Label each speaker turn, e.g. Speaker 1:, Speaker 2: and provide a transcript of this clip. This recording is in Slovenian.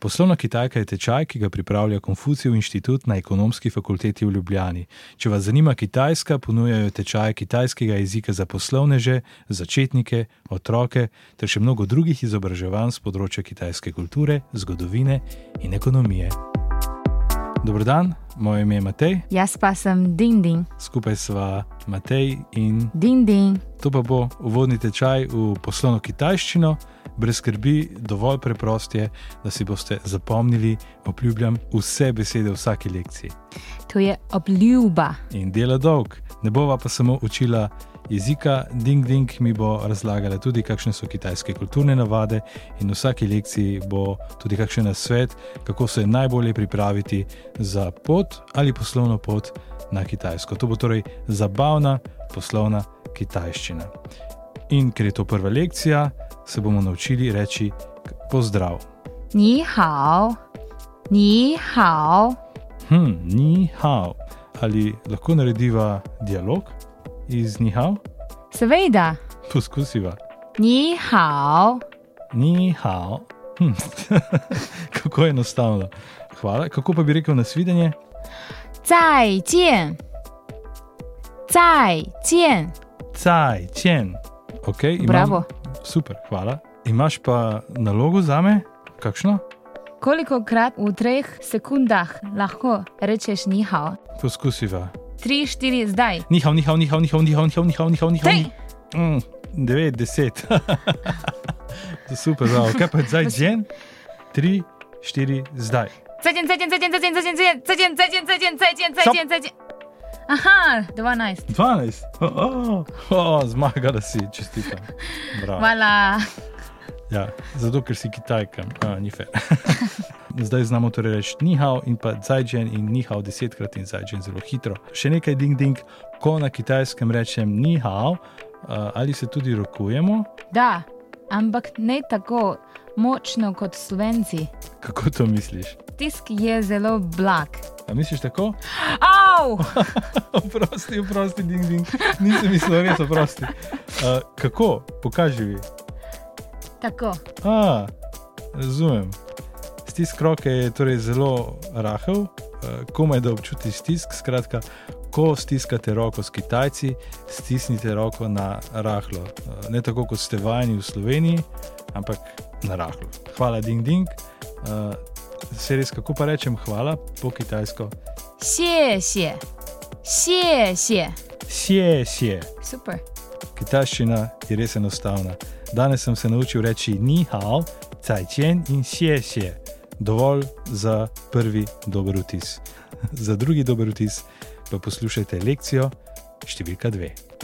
Speaker 1: Poslovna Kitajka je tečaj, ki ga pripravlja Konfucijev inštitut na ekonomski fakulteti v Ljubljani. Če vas zanima Kitajska, ponujajo tečaje kitajskega jezika za poslovneže, začetnike, otroke ter še mnogo drugih izobraževanj z področja kitajske kulture, zgodovine in ekonomije. Dobrodan, moje ime je Matej,
Speaker 2: Jaz pa sem Dindin,
Speaker 1: skupaj sva Matej in
Speaker 2: Dindin,
Speaker 1: to pa bo uvodni tečaj v poslovno kitajščino. Brez skrbi, dovolj preprost je, da si boste zapomnili, obljubljam, vse besede v vsaki lekciji.
Speaker 2: to je obljuba.
Speaker 1: In dela dolg. Ne bova pa samo učila jezika, Ding Ding mi bo razlagala tudi, kakšne so kitajske kulturne navade, in v vsaki lekciji bo tudi kakšen nasvet, kako se najbolje pripraviti za pot ali poslovno pot na Kitajsko. To bo torej zabavna poslovna kitajščina. In ker je to prva lekcija, se bomo naučili reči k- pozdrav.
Speaker 2: 你好，你好，
Speaker 1: Hm, ni hao. Ali lahko narediva dialog iz nihao?
Speaker 2: seveda,
Speaker 1: Poskusiva.
Speaker 2: 你好，
Speaker 1: Ni hao. Hm. Kako enostavno. Hvala. Kako pa bi rekel nasvidenje?
Speaker 2: 再见，再见，
Speaker 1: Caj, čen. Okay, imam-
Speaker 2: bravo.
Speaker 1: Super, hvala. Imaš pa nalogo za me? Kakšno?
Speaker 2: Koliko krat v treh sekundah lahko rečeš ni hao?
Speaker 1: Poskusiva.
Speaker 2: Tri, štiri, zdaj.
Speaker 1: Nihao, nihao, nihao, nihao, nihao, nihao, nihao, nihao, nihao.
Speaker 2: Tri,
Speaker 1: Mm, 9, 10. Super, bravo. Kaj pa zdaj, džen? 3, 4, zdaj.
Speaker 2: 再见，再见，再见，再见，再见，再见，再见，再见，再见，再见，再见，再见。Aha, dva nice.
Speaker 1: 12. Oh, oh, oh, zmagala si, čestitam. Bravo.
Speaker 2: Hvala.
Speaker 1: Ja, zato, ker si Kitajka, a, ni fair. Zdaj znamo torej reči nihao in pa zajčen in nihao desetkrat in zajčen zelo hitro. Še nekaj ding ding, ko na kitajskem rečem nihao, a, ali se tudi rokujemo,
Speaker 2: Da, ampak ne tako močno kot slovenci.
Speaker 1: kako to misliš?
Speaker 2: Tisk je zelo blag.
Speaker 1: A misliš tako?
Speaker 2: Au!
Speaker 1: Oprosti, oprosti, ding ding, nisem mislil res oprosti. A, kako? Pokaži mi.
Speaker 2: Tako,
Speaker 1: A, razumem. Stisk roke je torej zelo rahel, eh, komaj da občutiš stisk. Skratka, ko stiskate roko s Kitajci, stisnite roko na rahlo. Eh, Ne tako kot ste vajeni v Sloveniji, ampak na rahlo. Hvala, ding ding. Eh, Se res, kako pa rečem hvala po kitajsko?
Speaker 2: 谢谢，谢谢
Speaker 1: Sje, sje.
Speaker 2: ，super，
Speaker 1: Kitajščina je res enostavna. Danes sem se naučil reči ni hao, cajčen in sje sje. Dovolj za prvi dober vtis. za drugi dober vtis pa poslušajte lekcijo številka dve.